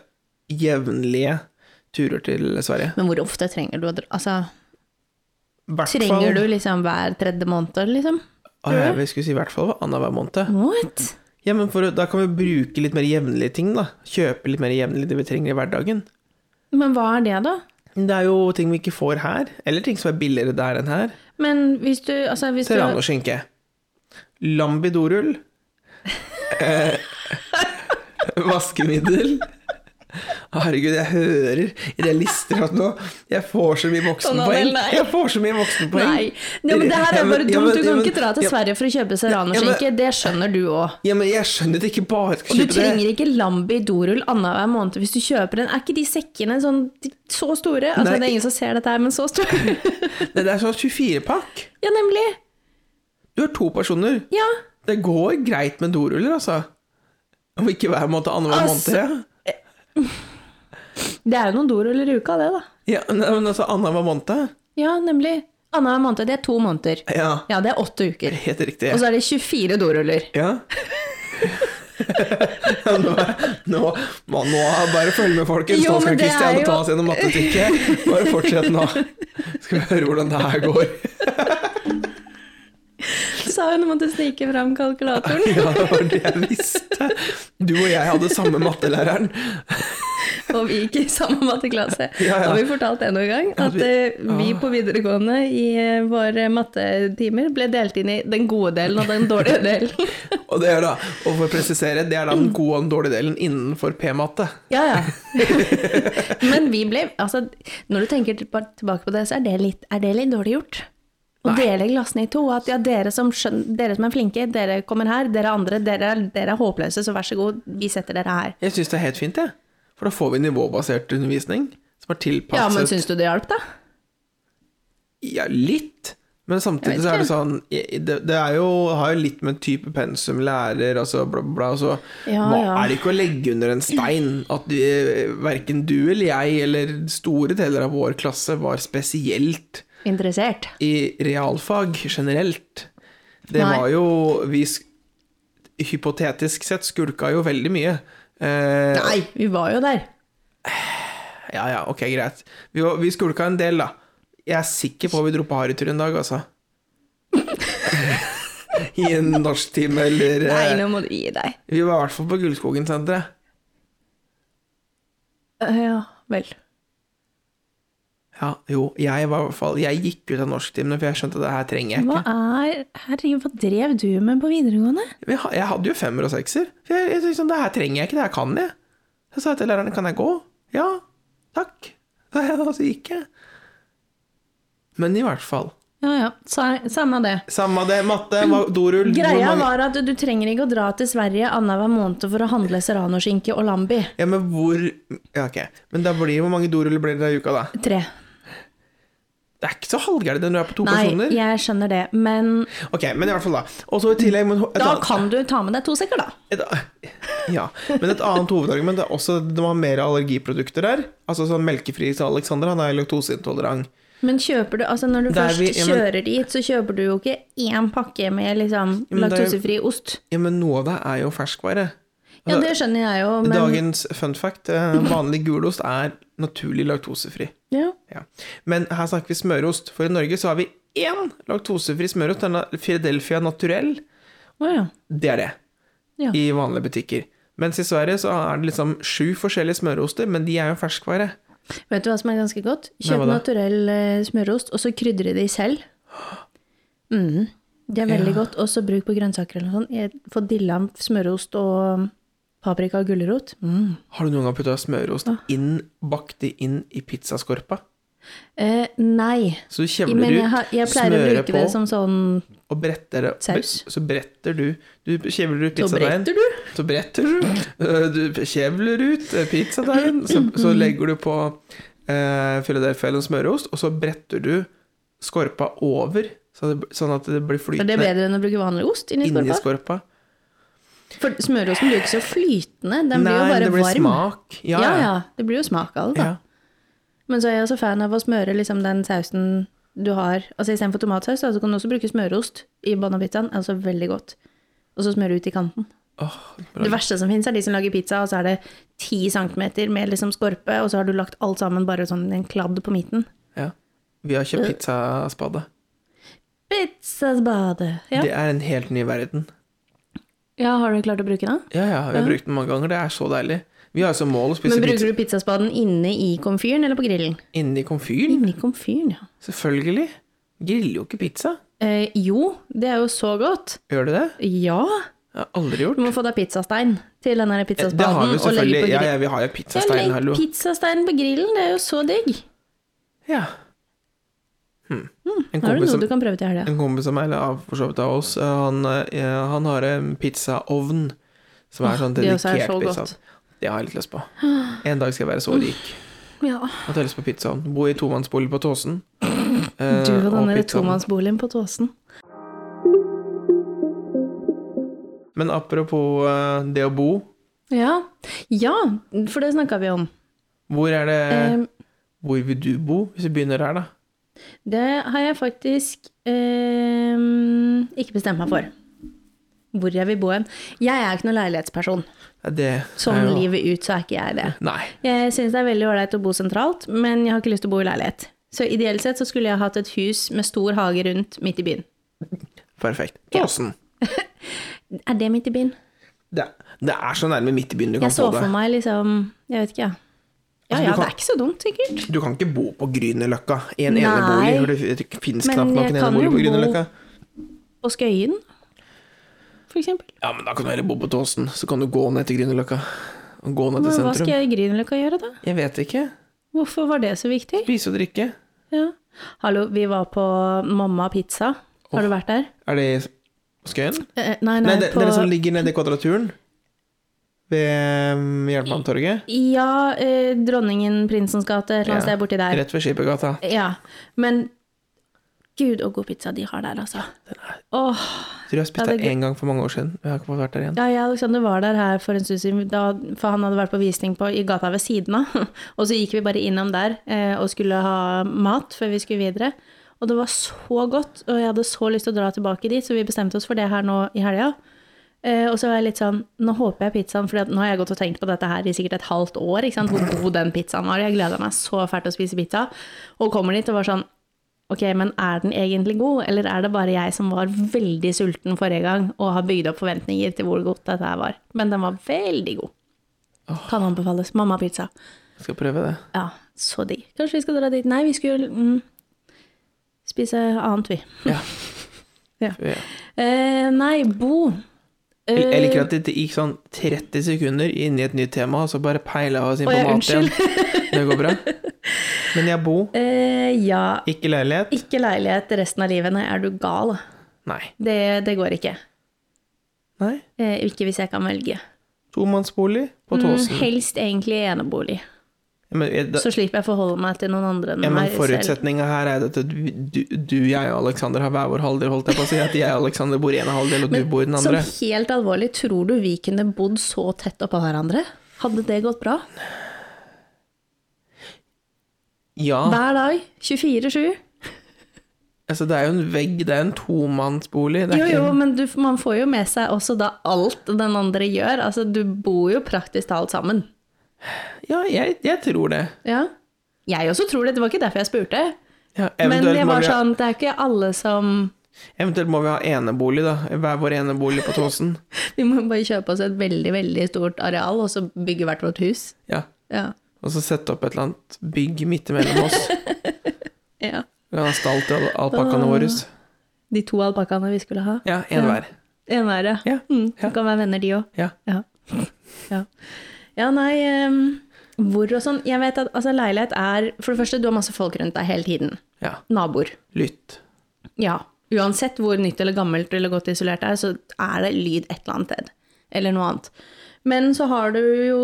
jevnlige turer til Sverige. Men hvor ofte trenger du å dra? Altså, Hvert trenger du liksom hver tredje måned, liksom? Å, ja, vi skulle si i hvert fall annenhver måned. What? Ja, men for, å- da kan vi bruke litt mer jevnlige ting, da. Kjøpe litt mer jevnlig det vi trenger i hverdagen. Men hva er det, da? Det er jo ting vi ikke får her, eller ting som er billigere der enn her. Men hvis du Altså, hvis du Serrano-skinke. Lambidorull. Eh, [laughs] vaskemiddel. Herregud, jeg hører i det lister at nå Jeg får så mye Sånn, voksenpoeng. nei. Jeg får så mye voksenpoeng. Nei. Ja, men det her Ja, er men- bare ja, dumt. men- Du ja, kan men- ikke dra til ja, Sverige for å kjøpe serranoskinke. Det skjønner du òg. Ja, men jeg skjønner at jeg ikke bare skal Du kjøpe det. trenger ikke Lambi dorull annenhver måned hvis du kjøper en. Er ikke de sekkene sånn, de- så store? Nei. Altså, det er ingen som ser dette her, men så store. [laughs] Nei, Det er sånn 24-pakk. ja, nemlig. Du har to personer. Ja. Det går greit med doruller, altså. Om ikke hver måned, annenhver Altså- måned. Det er jo noen doruller i uka, det, da. Ja, Ja, nei, men altså annenhver måned. Ja, nemlig. Annenhver måned. Det er to måneder. Ja, Ja, det er åtte uker. helt riktig. Og så er det 24 doruller. Ja. [laughs] nå, nå, man, nå bare følg med, folkens. Jo, Nå skal men det er Kristiane jo- ta oss gjennom mattetykket. Bare fortsett nå. Skal vi høre hvordan det her går. [laughs] [laughs] Sa hun måtte snike fram kalkulatoren. [laughs] Ja, det var det jeg visste. Du og jeg hadde samme mattelæreren. Og vi gikk i samme matteklasse. Ja, ja. Har vi fortalt det noen gang? Ja, At vi- eh, vi Ah. på videregående i eh, våre mattetimer ble delt inn i den gode delen og [laughs] den dårlige delen. Og det er da, og for å presisere, det er da den gode og den dårlige delen innenfor p-matte. Ja, ja. [laughs] Men vi ble Altså, når du tenker tilba- tilbake på det, så er det litt, er det litt dårlig gjort. Å dele glassene i to. At ja, dere som, skjøn, dere som er flinke, dere kommer her. Dere andre, dere, er- dere er håpløse, så vær så god, vi setter dere her. Jeg syns det er helt fint, jeg. For da får vi nivåbasert undervisning som er Ja, men tilpasset syns du det hjalp, da? Ja, litt. Men Jeg samtidig vet så er ikke. det sånn i- Det, det er jo, har jo litt med type pensum, lærer, altså bla, bla, bla. Så Ja, hva ja. er det ikke å legge under en stein at vi, verken du eller jeg eller store deler av vår klasse var spesielt Interessert. i realfag generelt. Det Nei. var jo Vi sk- hypotetisk sett skulka jo veldig mye. Eh, Nei, vi var jo der. Ja ja, ok, greit. Vi, var- vi skulka en del, da. Jeg er sikker på vi dro på harrytur en dag, altså. [laughs] I en norsktime eller eh, Nei, nå må du gi deg. Vi var i hvert fall på Gullskogen-senteret. Eh, Ja vel. Ja, jo, jeg var i hvert fall Jeg gikk ut av norsktimene, for jeg skjønte at det her trenger jeg Hva ikke. er Herregud, hva drev du med på videregående? Men Jeg, ha- jeg hadde jo femmer og sekser. For jeg, jeg, tenkte sånn, det her trenger jeg ikke, det her kan jeg. Så sa jeg til læreren, kan jeg gå? Ja, takk. [laughs] Og så gikk jeg. Men i hvert fall. Ja ja, sa, samme det. Samme det, matte, ma- dorull hvor Greia mange- var at du trenger ikke å dra til Sverige annenhver måned for å handle serranoskinke og lambi. Ja, men hvor Ja, ok. Men da blir hvor mange doruller blir det i uka, da? Tre. Det er ikke så halvgærent når du er på to Nei, personer. jeg skjønner det, men Ok, men i hvert fall, da. Og så i tillegg men, et da annet- kan du ta med deg to sekker, da. et, [laughs] Ja. Men et annet hovedargument er også at de har mer allergiprodukter der. Altså sånn melkefri til Alexander, han er laktoseintolerant. Men kjøper du, altså når du Der først vi- ja, men- kjører dit, så kjøper du jo ikke én pakke med liksom men det er jo- laktosefri ost. Ja, men noe av det er jo ferskvare. Ja, det skjønner jeg jo, men Dagens fun fact, eh, vanlig gulost er naturlig laktosefri. ja. Ja. Men her snakker vi smørost, for i Norge så har vi én laktosefri smørost, den er Philadelphia Naturell. Å ja. Det er det, Ja. i vanlige butikker. Mens i Sverige så er det liksom sju forskjellige smøroster, men de er jo ferskvare. Vet du hva som er ganske godt? Nei, Kjøp hva da? naturell eh, smørost, og så krydre [gasps] de selv. Mm. Det er veldig godt. Og så bruk på grønnsaker eller noe sånt. Jeg får dilla smørost og mm, paprika og gulrot. Mm. Har du noen gang putta smørost inn, bakt det inn i pizzaskorpa? Eh, nei, Så du kjevler men jeg, ut, har, jeg pleier å smører bruke på, det som sånn og bretter det saus. Så bretter du Du kjevler ut Så pizzadeigen. bretter du? Så bretter du, øh, du kjevler ut øh, pizzadeigen, så, Mm. så legger du på eh, Philadelphia eller smørost, og så bretter du skorpa over, så det, sånn at det blir For det flytende er bedre enn å bruke vanlig ost inni inni skorpa. skorpa. For smørosten blir jo ikke så flytende, den blir jo Nei, bare det blir varm. smak. Ja, Ja, ja. ja. Det blir jo smak av det, da. ja. Men så er jeg også fan av å smøre liksom den sausen du har. Altså Istedenfor tomatsaus da, så kan du også bruke smørost i bananpizzaen. Altså veldig godt. Og så smøre ut i kanten. Åh, bra. Det verste som fins, er de som lager pizza, og så er det 10 cm med liksom skorpe, og så har du lagt alt sammen bare sånn i en kladd på midten. ja. Vi har kjøpt pizzaspade. Pizzasbade. Ja. Det er en helt ny verden. ja, har du klart å bruke den? Ja, ja, vi har brukt den mange ganger. Det er så deilig. Vi har jo som mål å spise Men pizza bruker du pizzaspaden inne i komfyren eller på grillen? inni komfyren. Inni komfyren, ja. Selvfølgelig. Griller jo ikke pizza. Eh, jo, det er jo så godt. Gjør du det? Ja. Jeg har aldri gjort. Du må få deg pizzastein til den der Eh, Det pizzaspaden. har vi og legge selvfølgelig. på Ja, grill- ja, vi har jo Ja, pizzastein, legg hallo. Pizzastein på grillen, det er jo så digg. Ja. Hm. En Mm, Har du kompis noe som du kan prøve til helga? en kompis av meg, eller av- for så vidt av oss, eh, han, eh, han har en pizzaovn som er sånn det også er dedikert så pizza. godt. Det har jeg litt lyst på. En dag skal jeg være så rik Ja. at jeg har lyst på pizzaovn. Bo i tomannsbolig på [clears throat] Tåsen. Eh, Du og den der pizzaovn. tomannsboligen på Tåsen. Men apropos eh, det å bo, Ja. ja, for det snakka vi om. hvor er det Eh, Hvor vil du bo, hvis vi begynner her, da? Det har jeg faktisk ehm, ikke bestemt meg for. Hvor jeg vil bo hen. Jeg er ikke noen leilighetsperson. Ja, Det Sånn er jo- livet ut, så er ikke jeg det. Nei. Jeg syns det er veldig ålreit å bo sentralt, men jeg har ikke lyst til å bo i leilighet. Så ideelt sett så skulle jeg hatt et hus med stor hage rundt midt i byen. Perfekt. Tåsen. Er det midt i byen? Det, det er så nærme midt i byen du kan Jeg så få det. for meg liksom Jeg vet ikke, jeg. Ja. Altså, Ja du ja, kan- det er ikke så dumt, sikkert. Du kan ikke bo på Grünerløkka i en Nei. enebolig. for Det det finnes Men knapt nok jeg en kan enebolig på jo bo- Grünerløkka. Og Skøyen, for eksempel. Ja, men da kan du heller bo på Tåsen. Så kan du gå ned til Grünerløkka. Og gå ned til Men hva sentrum. skal Jeg... jeg i Grünerløkka gjøre, da? vet ikke. Hvorfor var det så viktig? Spise og drikke. Ja. Hallo, vi var på Mamma Pizza. Har du vært der? Er det i Skøyen? Nei, Eh, nei, nei, det, på dere som ligger nede i Kvadraturen? Ved um, Jernbanetorget? Ja, eh, Dronningen Prinsens gate, et eller annet Ja. sted borti der. Rett ved Skippergata. Ja. Men gud, så god pizza de har der, altså. Åh, Tror jeg spiste Ja, det er der én gang for mange år siden. Jeg har ikke fått vært der igjen. ja, jeg og Alexander var der her for en stund siden, da, for han hadde vært på visning på, i gata ved siden av. [laughs] Og så gikk vi bare innom der eh, og skulle ha mat før vi skulle videre. Og det var så godt, og jeg hadde så lyst til å dra tilbake dit, så vi bestemte oss for det her nå i helga. Eh, og så var jeg litt sånn Nå håper jeg pizzaen, for nå har jeg gått og tenkt på dette her i sikkert et halvt år. Ikke sant? Hvor god den pizzaen var. Jeg gleda meg så fælt til å spise pizza. Og kommer dit og var sånn Ok, men er den egentlig god, eller er det bare jeg som var veldig sulten forrige gang og har bygd opp forventninger til hvor godt dette her var? Men den var veldig god. Kan anbefales. Mamma pizza. Skal prøve det. Ja, så digg. Kanskje vi skal dra dit? Nei, vi skulle mm, spise annet, vi. Ja. Ja. Ja. Eh, nei, bo. Jeg jeg liker Eh, at det gikk sånn 30 sekunder inn i et nytt tema, og så bare peila oss inn Eh, Å, på ja, mat igjen. [laughs] Det går bra. Men jeg bor [laughs] eh, ja. ikke i leilighet. Ikke leilighet resten av livet. Nei, er du gal? Nei. Det, det går ikke. Nei. Eh, ikke hvis jeg kan velge. Tomannsbolig på Mm, Tåsen. helst egentlig enebolig. Men, jeg- da, Så slipper jeg forholde meg til noen andre enn ja, men meg selv. forutsetninga her er at du, du, du, jeg og Aleksander har hver vår halvdel, holdt jeg på å si. At jeg og Aleksander bor i en halvdel, og du bor i den Som andre. helt alvorlig, tror du vi kunne bodd så tett oppå hverandre? Hadde det gått bra? Ja, Hver dag, 24-7? altså det er jo en vegg, det er en tomannsbolig. Det Jo, er jo, ikke en, men du, man får jo med seg også da alt den andre gjør. Altså, du bor jo praktisk talt sammen. ja, jeg, jeg tror det. Ja. Jeg også tror det, det var ikke derfor jeg spurte. Ja, Men eventuelt jeg må var vi ha- sånn, det er ikke alle som Eventuelt må vi ha enebolig, da. Hver vår enebolig [laughs] på Tåsen. Vi må bare kjøpe oss et veldig, veldig stort areal, og så bygge hvert vårt hus. Ja. Ja. Og så sette opp et eller annet bygg midt imellom oss. ja. Vi kan ha stall til alpakkaene våre. De to alpakkaene vi skulle ha. Ja, én hver. En hver, ja. Ja, Mm, ja. de Kan være venner, de òg. Ja. Ja. ja. Ja, nei ehm, Hvor og sånn. Jeg vet at altså, leilighet er For det første, du har masse folk rundt deg hele tiden. ja. Naboer. Lytt. Ja. Uansett hvor nytt eller gammelt eller godt isolert det er, så er det lyd et eller annet sted. Eller noe annet. Men så har du jo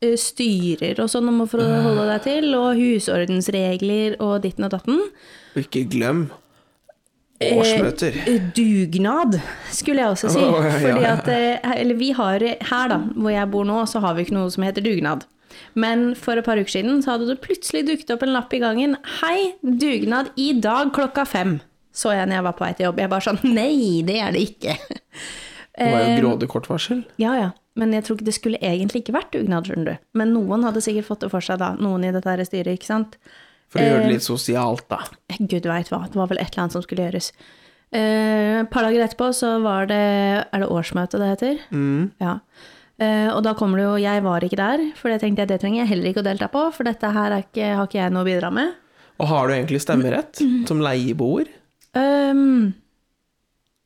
eh, styrer og sånn om å forholde deg til, og husordensregler og ditten og datten. Og ikke glem årsmøter. Eh, dugnad, skulle jeg også si. Å, ja, ja, Fordi ja. at eh, Eller vi har Her, da, hvor jeg bor nå, så har vi ikke noe som heter dugnad. Men for et par uker siden så hadde det plutselig dukket opp en lapp i gangen. 'Hei, dugnad i dag klokka fem', så jeg når jeg var på vei til jobb. Jeg bare sånn Nei, det er det ikke. [laughs] Det var Eh, jo grådig kort varsel. Ja ja, men jeg tror ikke det skulle egentlig ikke vært dugnad, skjønner du. Men noen hadde sikkert fått det for seg, da. Noen i dette her styret, ikke sant. For å eh, gjøre det litt sosialt, da. Gud veit hva, det var vel et eller annet som skulle gjøres. Eh, Et par dager etterpå så var det Er det årsmøte det heter? Ja. Eh, og da kommer det jo Jeg var ikke der, for det tenkte jeg det trenger jeg heller ikke å delta på, for dette her er ikke, har ikke jeg noe å bidra med. Og har du egentlig stemmerett Mm. som leieboer? Ehm,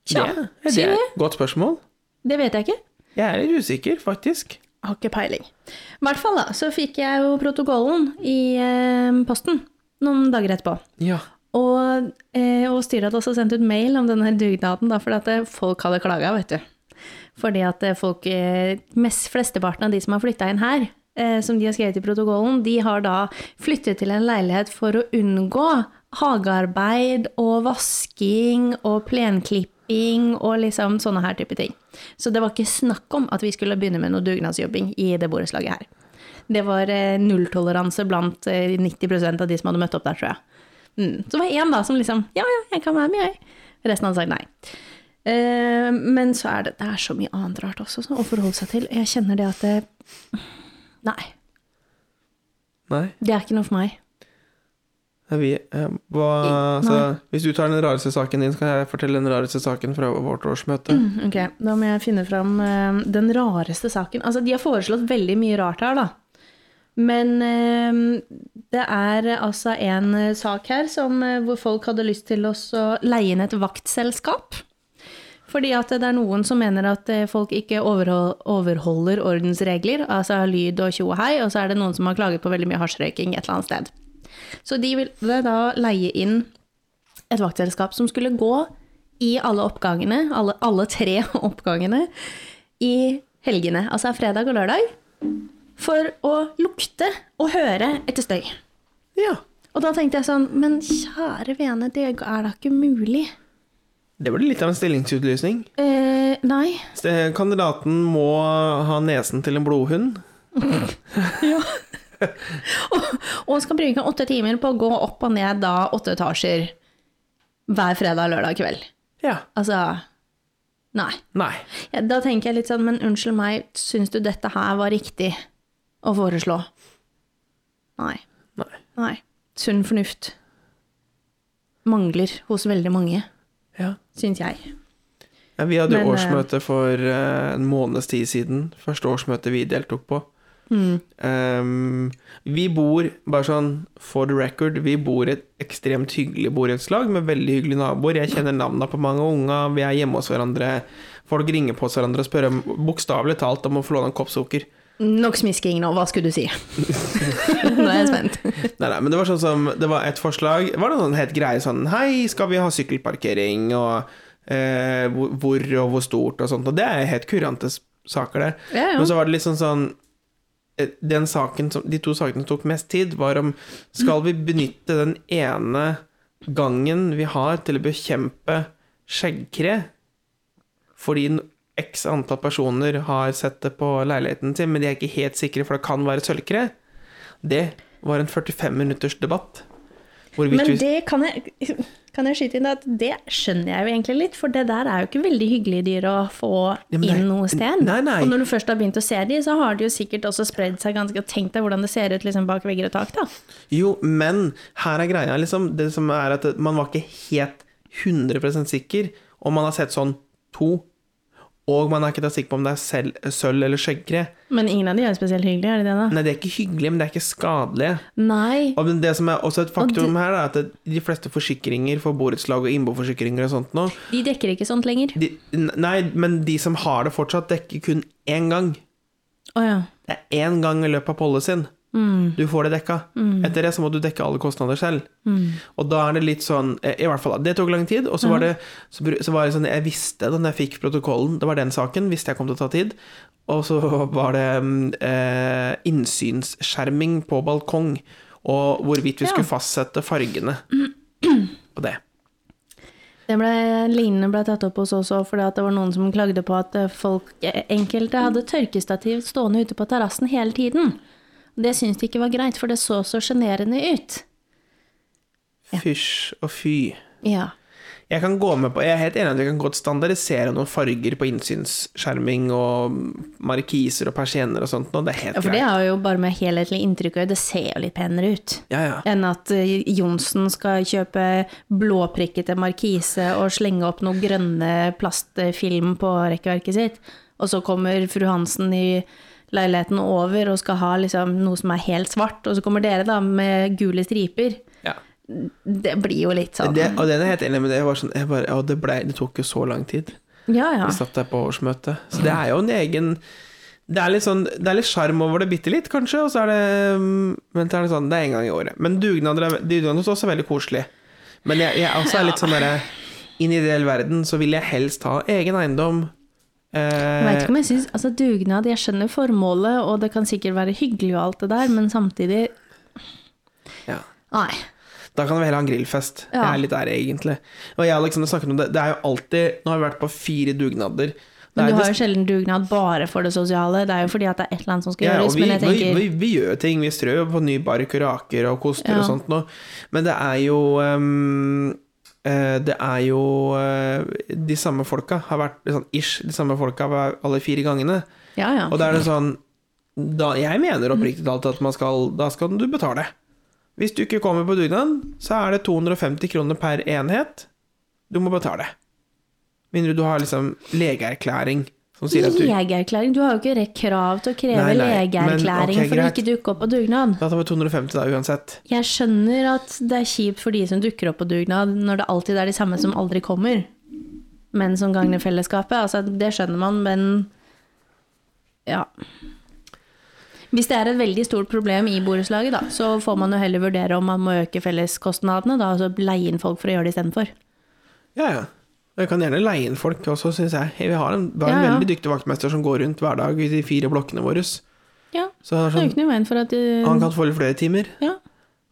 tja, det, det, det er et godt spørsmål. det vet jeg ikke. Jeg er litt usikker, faktisk. Jeg har ikke peiling. I hvert fall da, så fikk jeg jo protokollen i eh, posten noen dager etterpå. Ja. Og, eh, og styret hadde også sendt ut mail om denne dugnaden, da, fordi at eh, folk hadde klaga, vet du. Fordi at eh, folk, eh, mest flesteparten av de som har flytta inn her, eh, som de har skrevet i protokollen, de har da flyttet til en leilighet for å unngå hagearbeid og vasking og plenklipping og liksom sånne her type ting. Så det var ikke snakk om at vi skulle begynne med noe dugnadsjobbing i det borettslaget her. Det var eh, nulltoleranse blant eh, 90 av de som hadde møtt opp der, tror jeg. Mm. Så det var én da som liksom Ja, ja, jeg kan være med, jeg. Resten hadde sagt nei. Eh, men så er det, det er så mye annet rart også så, å forholde seg til. Jeg kjenner det at det, Nei, Nei. det er ikke noe for meg. Nei, Vi, eh, hva, så, hvis du tar den rareste saken din, så kan jeg fortelle den rareste saken fra vårt årsmøte. Mm, Ok, Da må jeg finne fram eh, den rareste saken. Altså, De har foreslått veldig mye rart her, da. Men eh, det er eh, altså en eh, sak her som, eh, hvor folk hadde lyst til oss å leie inn et vaktselskap. Fordi at det er noen som mener at eh, folk ikke overhol- overholder ordensregler, altså lyd og tjo og hei, og så er det noen som har klaget på veldig mye hasjrøyking et eller annet sted. Så de ville da leie inn et vaktselskap som skulle gå i alle oppgangene, alle, alle tre [laughs] oppgangene, i helgene, altså fredag og lørdag, for å lukte og høre etter støy. Ja. Og da tenkte jeg sånn, men kjære vene, det er da ikke mulig. Det ble litt av en stillingsutlysning. Eh, nei. Ste- Kandidaten må ha nesen til en blodhund. Ja. og, og skal bruke åtte timer på å gå opp og ned da åtte etasjer hver fredag og lørdag kveld. Ja. Altså, nei. Nei. Ja, da tenker jeg litt sånn, men unnskyld meg, syns du dette her var riktig å foreslå? Nei. Nei. Nei. Sunn fornuft mangler hos veldig mange, Ja. syns jeg. Ja, vi hadde Men, jo eh, årsmøte for eh, en måneds tid siden. Første årsmøte vi deltok på. Mm. Ehm, vi bor, bare sånn for the record, vi bor i et ekstremt hyggelig borettslag med veldig hyggelige naboer. Jeg kjenner navnene på mange av unga, vi er hjemme hos hverandre. Folk ringer på oss hverandre og spør om- bokstavelig talt om å få låne en kopp sukker. Nok smisking nå, hva skulle du [laughs] si? nå er jeg spent. Nei, nei, men det var sånn som Det var et forslag Det var noen sånn helt greie sånn Hei, skal vi ha sykkelparkering? Og eh, hvor hvor og hvor stort og sånt Og det er helt kurante s- saker det Ja, ja. Men så var det litt sånn sånn eh, Den saken som De to sakene som tok mest tid Var om Skal vi benytte den ene gangen vi har Til å bekjempe skjeggkre? Fordi n- X antall personer har sett det på leiligheten sin Men de er ikke helt sikre For det kan være sølvkre det var en 45 minutters debatt. Hvorvidt Men vi, det kan jeg, kan jeg skyte inn at det skjønner jeg jo egentlig litt, for det der er jo ikke veldig hyggelige dyr å få Ja, men det- inn noe sted. Nei, nei. Og når du først har begynt å se de, så har de jo sikkert også spredd seg ganske og tenkt deg hvordan det ser ut liksom, bak vegger og tak, da. Jo, men her er greia, liksom. Det som er at man var ikke helt 100 sikker, og man har sett sånn to. Og man er ikke da sikker på om det er selv, sølv eller skjeggkre. Men ingen av de er jo spesielt hyggelige, er de det da? Nei, det er ikke hyggelig, men det er ikke skadelig. Nei. Og men det som er også et Og faktum her, er at de fleste forsikringer for borettslag og innboforsikringer og sånt nå De dekker ikke sånt lenger. de, Nei, men de som har det fortsatt, dekker kun én gang. Å ja. Det er én gang i løpet av policyen. Du får det dekka. Etter det så må du dekke alle kostnader selv. Og da er det litt sånn eh, I hvert fall, det tok lang tid, og så var det så, bru- så var det sånn Jeg visste da jeg fikk protokollen, det var den saken, visste jeg kom til å ta tid. Og så var det mm, eh, innsynsskjerming på balkong, og hvorvidt vi Ja. skulle fastsette fargene på det. Det ble, lignende ble tatt opp hos oss også, fordi at det var noen som klagde på at eh, folk, eh, enkelte hadde tørkestativ stående ute på terrassen hele tiden. Det syntes de ikke var greit, for det så så sjenerende ut. Fysj og fy. Ja. Jeg kan gå med på, jeg er helt enig i at vi kan godt standardisere noen farger på innsynsskjerming og markiser og persienner og sånt, og det er helt Ja, for det greit. har jo bare med helhetlig inntrykk å gjøre. Det ser jo litt penere ut. Ja, ja. Enn at eh, Johnsen skal kjøpe blåprikkete markise og slenge opp noe grønne plastfilm på rekkverket sitt. Og så kommer fru Hansen i leiligheten over og skal ha liksom noe som er helt svart. Og så kommer dere da med gule striper. ja. Det blir jo litt sånn. Det, og den er jeg helt enig med det. Jeg var sånn, jeg bare, ja, det, ble, det tok jo så lang tid. Ja, ja. Vi satt der på årsmøtet. Så det er jo en egen Det er litt sånn, det er litt sjarm over det bitte litt, kanskje, og så er det mm, Men så er det sånn, det er en gang i året. Men dugnader er, dugnader er også veldig koselig. Men jeg, jeg også er litt sånn derre I en ideell verden så vil jeg helst ha egen eiendom. Jeg vet Eh, ikke om jeg synes, altså Dugnad, jeg skjønner formålet, og det kan sikkert være hyggelig og alt det der, men samtidig ja. Nei. Da kan vi heller ha en grillfest. Ja. Jeg er litt der, egentlig. Og jeg og Alexander snakket om det. Det er jo alltid Nå har vi vært på fire dugnader. Men Nei, du har det- jo sjelden dugnad bare for det sosiale. Det er jo fordi at det er et eller annet som skal Ja, og gjøres. vi, Men jeg tenker vi, vi, vi gjør ting. Vi strør jo på ny bark og raker og koster Ja. og sånt noe. Men det er jo ehm, eh, Det er jo eh, De samme folka har vært sånn ish, de samme folka hver- alle fire gangene. Ja, ja. Og da er det sånn da, Jeg mener oppriktig talt at man skal Da skal du betale. Hvis du ikke kommer på dugnad, så er det 250 kroner per enhet. Du må betale. Mindre du har liksom legeerklæring som sier at du Legeerklæring? Du har jo ikke rett krav til å kreve Nei, nei, men legeerklæring ok, for å greit. ikke dukke opp på dugnad. Da tar vi 250 da uansett. Jeg skjønner at det er kjipt for de som dukker opp på dugnad, når det alltid er de samme som aldri kommer, men som gagner fellesskapet. Altså, det skjønner man, men ja. Hvis det er et veldig stort problem i borettslaget, da, så får man jo heller vurdere om man må øke felleskostnadene, da, altså leie inn folk for å gjøre det istedenfor. Ja, ja. Jeg kan gjerne leie inn folk også, syns jeg. Vi har en, vi har en Ja, ja. veldig dyktig vaktmester som går rundt hver dag i de fire blokkene våre. Så Ja, det det er er jo sånn, ikke noe i veien for at han du kan få litt flere timer. ja,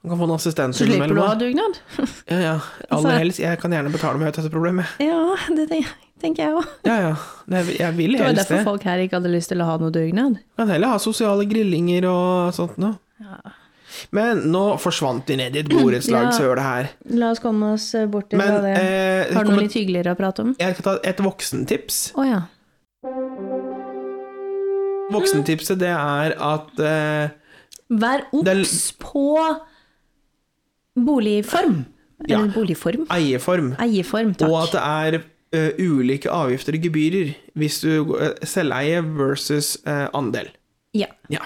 Han kan få en assistent Så slipper du å ha innimellom. dugnad. Ja, ja. Aller Altså- helst. Jeg kan gjerne betale meg ut av dette problemet. [laughs] Ja, det tenker jeg- tenker jeg òg. Ja, ja. Nei, Jeg vil Det var helst det. derfor folk her ikke hadde lyst til å ha noe dugnad. Kan heller ha sosiale grillinger og sånt noe. Ja. Men nå forsvant de ned i et borettslagshøl her. La oss komme oss bort fra Men det. eh, Har du kommer- noe litt hyggeligere å prate om? jeg kan ta et voksentips. Å ja. Voksentipset det er at eh, Vær Det er- obs på boligform. Ja. Eller boligform? eieform Eieform, takk. Og at det er eh, ulike avgifter og gebyrer hvis du uh, selveie versus eh, andel. Ja. Ja.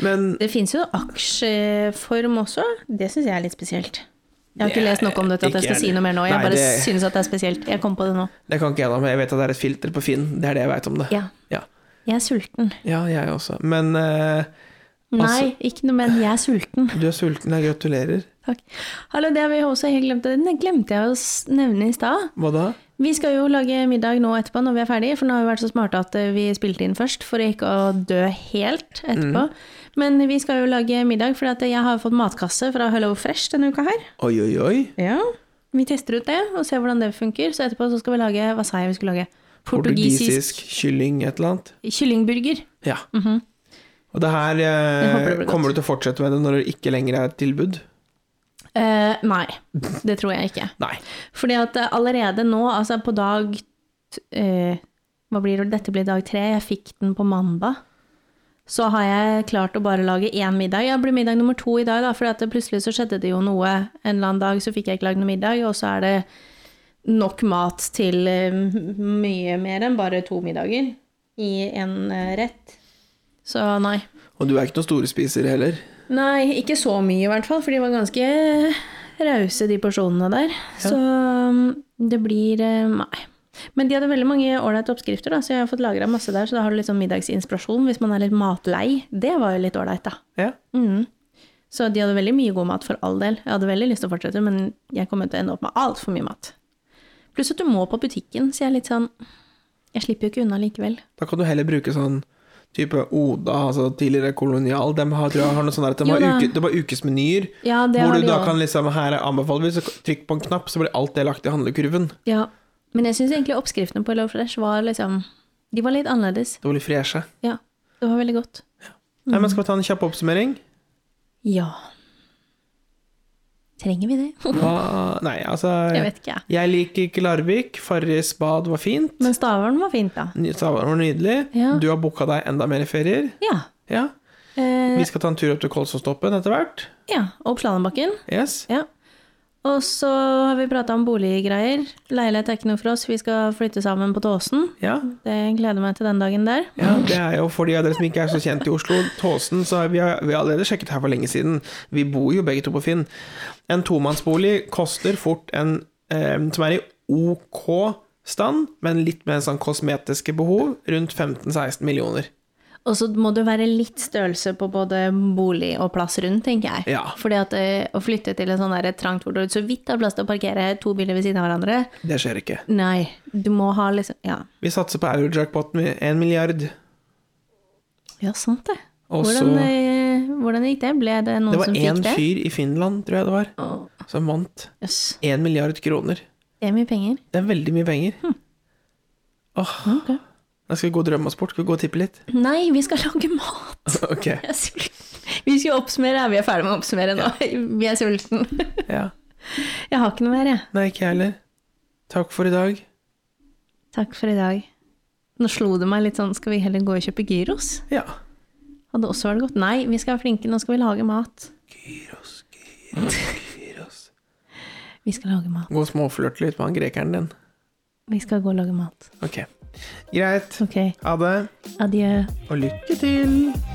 Men Det fins jo aksjeform også. Det syns jeg er litt spesielt. Jeg har Det ikke lest nok om dette at ikke jeg skal si heller. noe mer nå. Jeg Nei, bare det- synes at det er spesielt. Jeg kom på det nå. det kan ikke jeg da, men jeg vet at det er et filter på Finn. Det er det jeg veit om det. Ja. Ja. Jeg er sulten. Ja, jeg også. Men eh, Nei, ikke noe, men jeg er sulten. du er sulten, jeg gratulerer. Takk. Hallo, det har vi også helt glemt. Den glemte jeg å s- nevne i stad. Hva da? Vi skal jo lage middag nå etterpå når vi er ferdige, for nå har vi vært så smarte at eh, vi spilte inn først for ikke å dø helt etterpå. Men vi skal jo lage middag, for jeg har fått matkasse fra Hello Fresh denne uka her. Oi, oi, oi. Ja. Vi tester ut det og ser hvordan det funker, så etterpå så skal vi lage Hva sa jeg vi skulle lage? Portugisisk Portugisisk kylling, et eller annet. kyllingburger. Ja. Og det her Mhm. Jeg eh, håper det blir godt. kommer du til å fortsette med det når det ikke lenger er et tilbud? Eh, nei, det tror jeg ikke. Nei. Fordi at eh, allerede nå, altså på dag t- eh, Hva blir det? Dette blir dag tre. Jeg fikk den på mandag. Så har jeg klart å bare lage én middag. Ja, det blir middag nummer to i dag, da. For at det plutselig så skjedde det jo noe en eller annen dag, så fikk jeg ikke lagd noe middag. Og så er det nok mat til eh, m- mye mer enn bare to middager i en eh, rett. Så nei. Og du er ikke noen storespiser heller? Nei, ikke så mye i hvert fall, for de var ganske eh, rause, de porsjonene der. Så um, det blir eh, Nei. Men de hadde veldig mange ålreite oppskrifter, da, så jeg har fått lagra masse der. Så da har du litt sånn middagsinspirasjon hvis man er litt matlei. Det var jo litt ålreit, da. Ja. Mm. Så de hadde veldig mye god mat for all del. Jeg hadde veldig lyst til å fortsette, men jeg kommer til å ende opp med altfor mye mat. Pluss at du må på butikken, så jeg er litt sånn Jeg slipper jo ikke unna likevel. Da kan du heller bruke sånn type Oda, altså tidligere kolonial. De har, tror jeg, har noe sånn der at de Jo har, da. uke, de har ukesmenyer. Ja, det Hvor har du de da også. kan liksom Her er anbefaler vi, så trykk på en knapp, så blir alt det lagt i handlekurven. Ja, men jeg syns egentlig oppskriftene på Hello Fresh var liksom De var litt annerledes. Det var litt freshe. Ja, det var veldig godt. Nei, Mhm. men skal vi ta en kjapp oppsummering? Ja. Trenger vi det? [laughs] Hva Nei, altså Jeg vet ikke, jeg. Jeg liker ikke Larvik. Farris bad var fint. Men Stavern var fint, da. Ny- Stavern var nydelig. Ja. Du har booka deg enda mer ferier. Ja. Ja. Eh, Vi skal ta en tur opp til Kolsåstoppen etter hvert. ja. Og Slalåmbakken. Yes. Ja. Og så har vi prata om boliggreier. Leilighet er ikke noe for oss, vi skal flytte sammen på Tåsen. Ja. Det gleder jeg meg til den dagen der. Ja, det er jo for de av dere som ikke er så kjent i Oslo. Tåsen, så vi har, vi har allerede sjekket her for lenge siden. Vi bor jo begge to på Finn. En tomannsbolig koster fort en eh, som er i ok stand, men litt med sånn kosmetiske behov, rundt 15-16 millioner. Og så må det være litt størrelse på både bolig og plass rundt, tenker jeg. Ja. Fordi at eh, å flytte til en sånn der trangt hvor du så vidt har plass til å parkere to biler ved siden av hverandre Det skjer ikke. Nei, du må ha liksom Ja, Vi satser på eurojackpoten med 1 milliard. ja sant det. Og så- hvordan, eh, hvordan gikk det? Ble det noen Det var som fikk én det? fyr i Finland, tror jeg det var, Åh, som vant Jøss. 1 milliard kroner. Det er mye penger. Det er veldig mye penger. Åh, Ok. Da skal vi gå og drømme oss bort. Skal vi gå og tippe litt? [laughs] Nei, vi skal lage mat! Ok. Jeg er sulten. Vi skal oppsummere. Vi er ferdig med å oppsummere nå. [laughs] Vi er sulten. Ja. Jeg har ikke noe mer, jeg. Nei, ikke jeg heller. Takk for i dag. Takk for i dag. Nå slo det meg litt sånn, skal vi heller gå og kjøpe gyros? Ja. Hadde også vært godt. Nei, vi skal være flinke, nå skal vi lage mat. Gyros, gyros, gyros. Vi skal lage mat. Gå og småflørte litt med han grekeren din. Vi skal gå og lage mat. Ok. Greit. Ok, Ha det, adjø. og lykke til.